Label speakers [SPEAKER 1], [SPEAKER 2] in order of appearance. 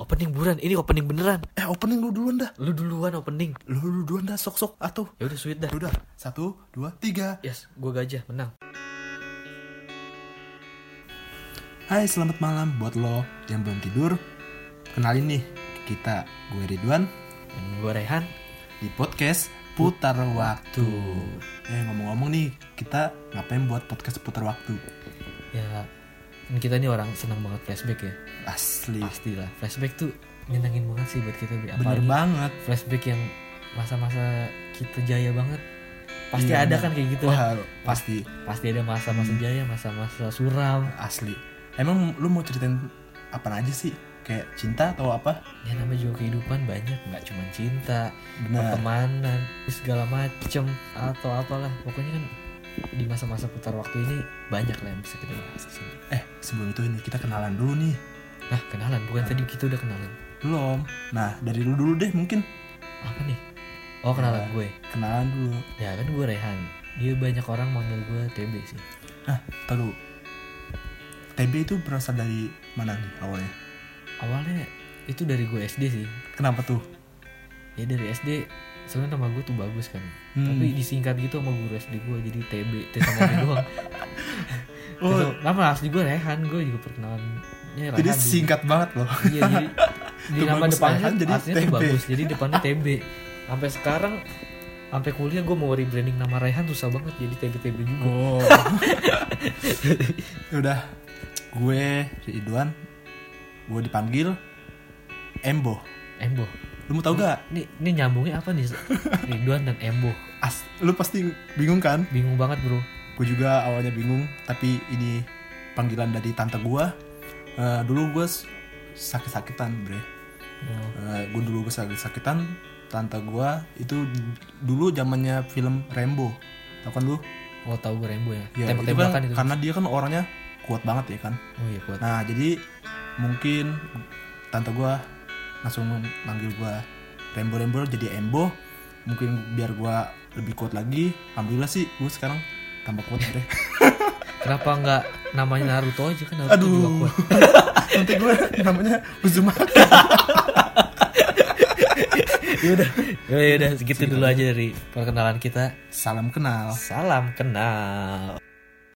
[SPEAKER 1] opening buran ini opening beneran
[SPEAKER 2] Eh opening lu duluan dah.
[SPEAKER 1] lu duluan opening
[SPEAKER 2] Lu, lu duluan dah sok sok atuh.
[SPEAKER 1] ya udah sweet dah
[SPEAKER 2] Udah satu dua tiga.
[SPEAKER 1] yes gua gajah menang
[SPEAKER 2] Hai selamat malam buat lo yang belum tidur. Kenalin nih kita gue Ridwan
[SPEAKER 1] dan gua Rehan
[SPEAKER 2] di podcast Putar Waktu. Eh ngomong-ngomong nih kita ngapain buat podcast Putar Waktu?
[SPEAKER 1] ya kan kita nih orang senang banget flashback ya
[SPEAKER 2] Asli.
[SPEAKER 1] pastilah flashback tuh nyenengin banget sih buat kita Bi.
[SPEAKER 2] Iya. Bener
[SPEAKER 1] apalagi
[SPEAKER 2] banget.
[SPEAKER 1] flashback yang masa-masa kita jaya banget pasti
[SPEAKER 2] Iya,
[SPEAKER 1] ada
[SPEAKER 2] bener.
[SPEAKER 1] kan kayak gitu kan?
[SPEAKER 2] Wah pasti
[SPEAKER 1] pasti ada masa-masa jaya masa-masa suram
[SPEAKER 2] asli. Emang lu mau ceritain apa aja sih? Kayak cinta atau apa?
[SPEAKER 1] ya namanya juga kehidupan banyak nggak cuma cinta
[SPEAKER 2] Benar.
[SPEAKER 1] pertemanan segala macem atau apalah pokoknya kan di masa-masa putar waktu ini banyak lah yang bisa kita bahas di sini
[SPEAKER 2] Eh sebelum itu ini kita kenalan dulu nih.
[SPEAKER 1] nah kenalan bukan tadi kita udah kenalan
[SPEAKER 2] Belum. Nah, dari lu dulu deh mungkin.
[SPEAKER 1] apa nih oh kenalan
[SPEAKER 2] Nah.
[SPEAKER 1] gue
[SPEAKER 2] Kenalan dulu.
[SPEAKER 1] ya kan gue Rehan dia banyak orang manggil gue TB sih
[SPEAKER 2] Nah, tar dulu. TB itu berasal dari mana nih awalnya?
[SPEAKER 1] awalnya itu dari gue SD sih
[SPEAKER 2] Kenapa tuh?
[SPEAKER 1] ya dari SD sebenarnya nama gue tuh bagus kan
[SPEAKER 2] Hmm.
[SPEAKER 1] tapi disingkat gitu sama guru SD gue jadi TB T sama B doang
[SPEAKER 2] Oh.
[SPEAKER 1] Terus nama asli gue Rehan gue juga perkenalan ya,
[SPEAKER 2] Jadi
[SPEAKER 1] Rehan dulu.
[SPEAKER 2] singkat banget loh.
[SPEAKER 1] Iya jadi di
[SPEAKER 2] Tuh
[SPEAKER 1] nama
[SPEAKER 2] bagus
[SPEAKER 1] depannya
[SPEAKER 2] Rehan, jadi
[SPEAKER 1] jadi artinya tuh
[SPEAKER 2] TB.
[SPEAKER 1] bagus. Jadi depannya TB. Sampai sekarang sampai kuliah gue mau rebranding nama Rehan susah banget jadi TB TB juga.
[SPEAKER 2] Oh. Ya Udah. Gue Ridwan. Gue dipanggil Embo.
[SPEAKER 1] Embo.
[SPEAKER 2] Lu mau tau gak?
[SPEAKER 1] Ini ini nyambungnya apa nih? Ridwan dan Embo.
[SPEAKER 2] As, lu pasti bingung kan?
[SPEAKER 1] Bingung banget bro.
[SPEAKER 2] Gue juga awalnya bingung, tapi ini panggilan dari tante gue. Eh, dulu gue s- sakit-sakitan, bre.
[SPEAKER 1] Oh,
[SPEAKER 2] gue Eh, dulu kesakit-sakitan tante gue itu d- dulu zamannya film Rambo tau kan lu
[SPEAKER 1] oh tahu gue Embo ya.
[SPEAKER 2] ya itu kan
[SPEAKER 1] Tembak-tembakan itu.
[SPEAKER 2] karena dia kan orangnya kuat banget ya kan
[SPEAKER 1] Oh iya kuat.
[SPEAKER 2] nah jadi mungkin tante gue langsung manggil gue Rambo Rambo jadi Embo mungkin biar gue lebih kuat lagi alhamdulillah sih gue sekarang tambah kuat deh
[SPEAKER 1] Kenapa nggak namanya Naruto aja kan Naruto juga
[SPEAKER 2] aduh
[SPEAKER 1] kuat.
[SPEAKER 2] nanti gue namanya Uzumaki
[SPEAKER 1] Yaudah, yaudah segitu dulu aja dari perkenalan kita.
[SPEAKER 2] salam kenal
[SPEAKER 1] Salam kenal.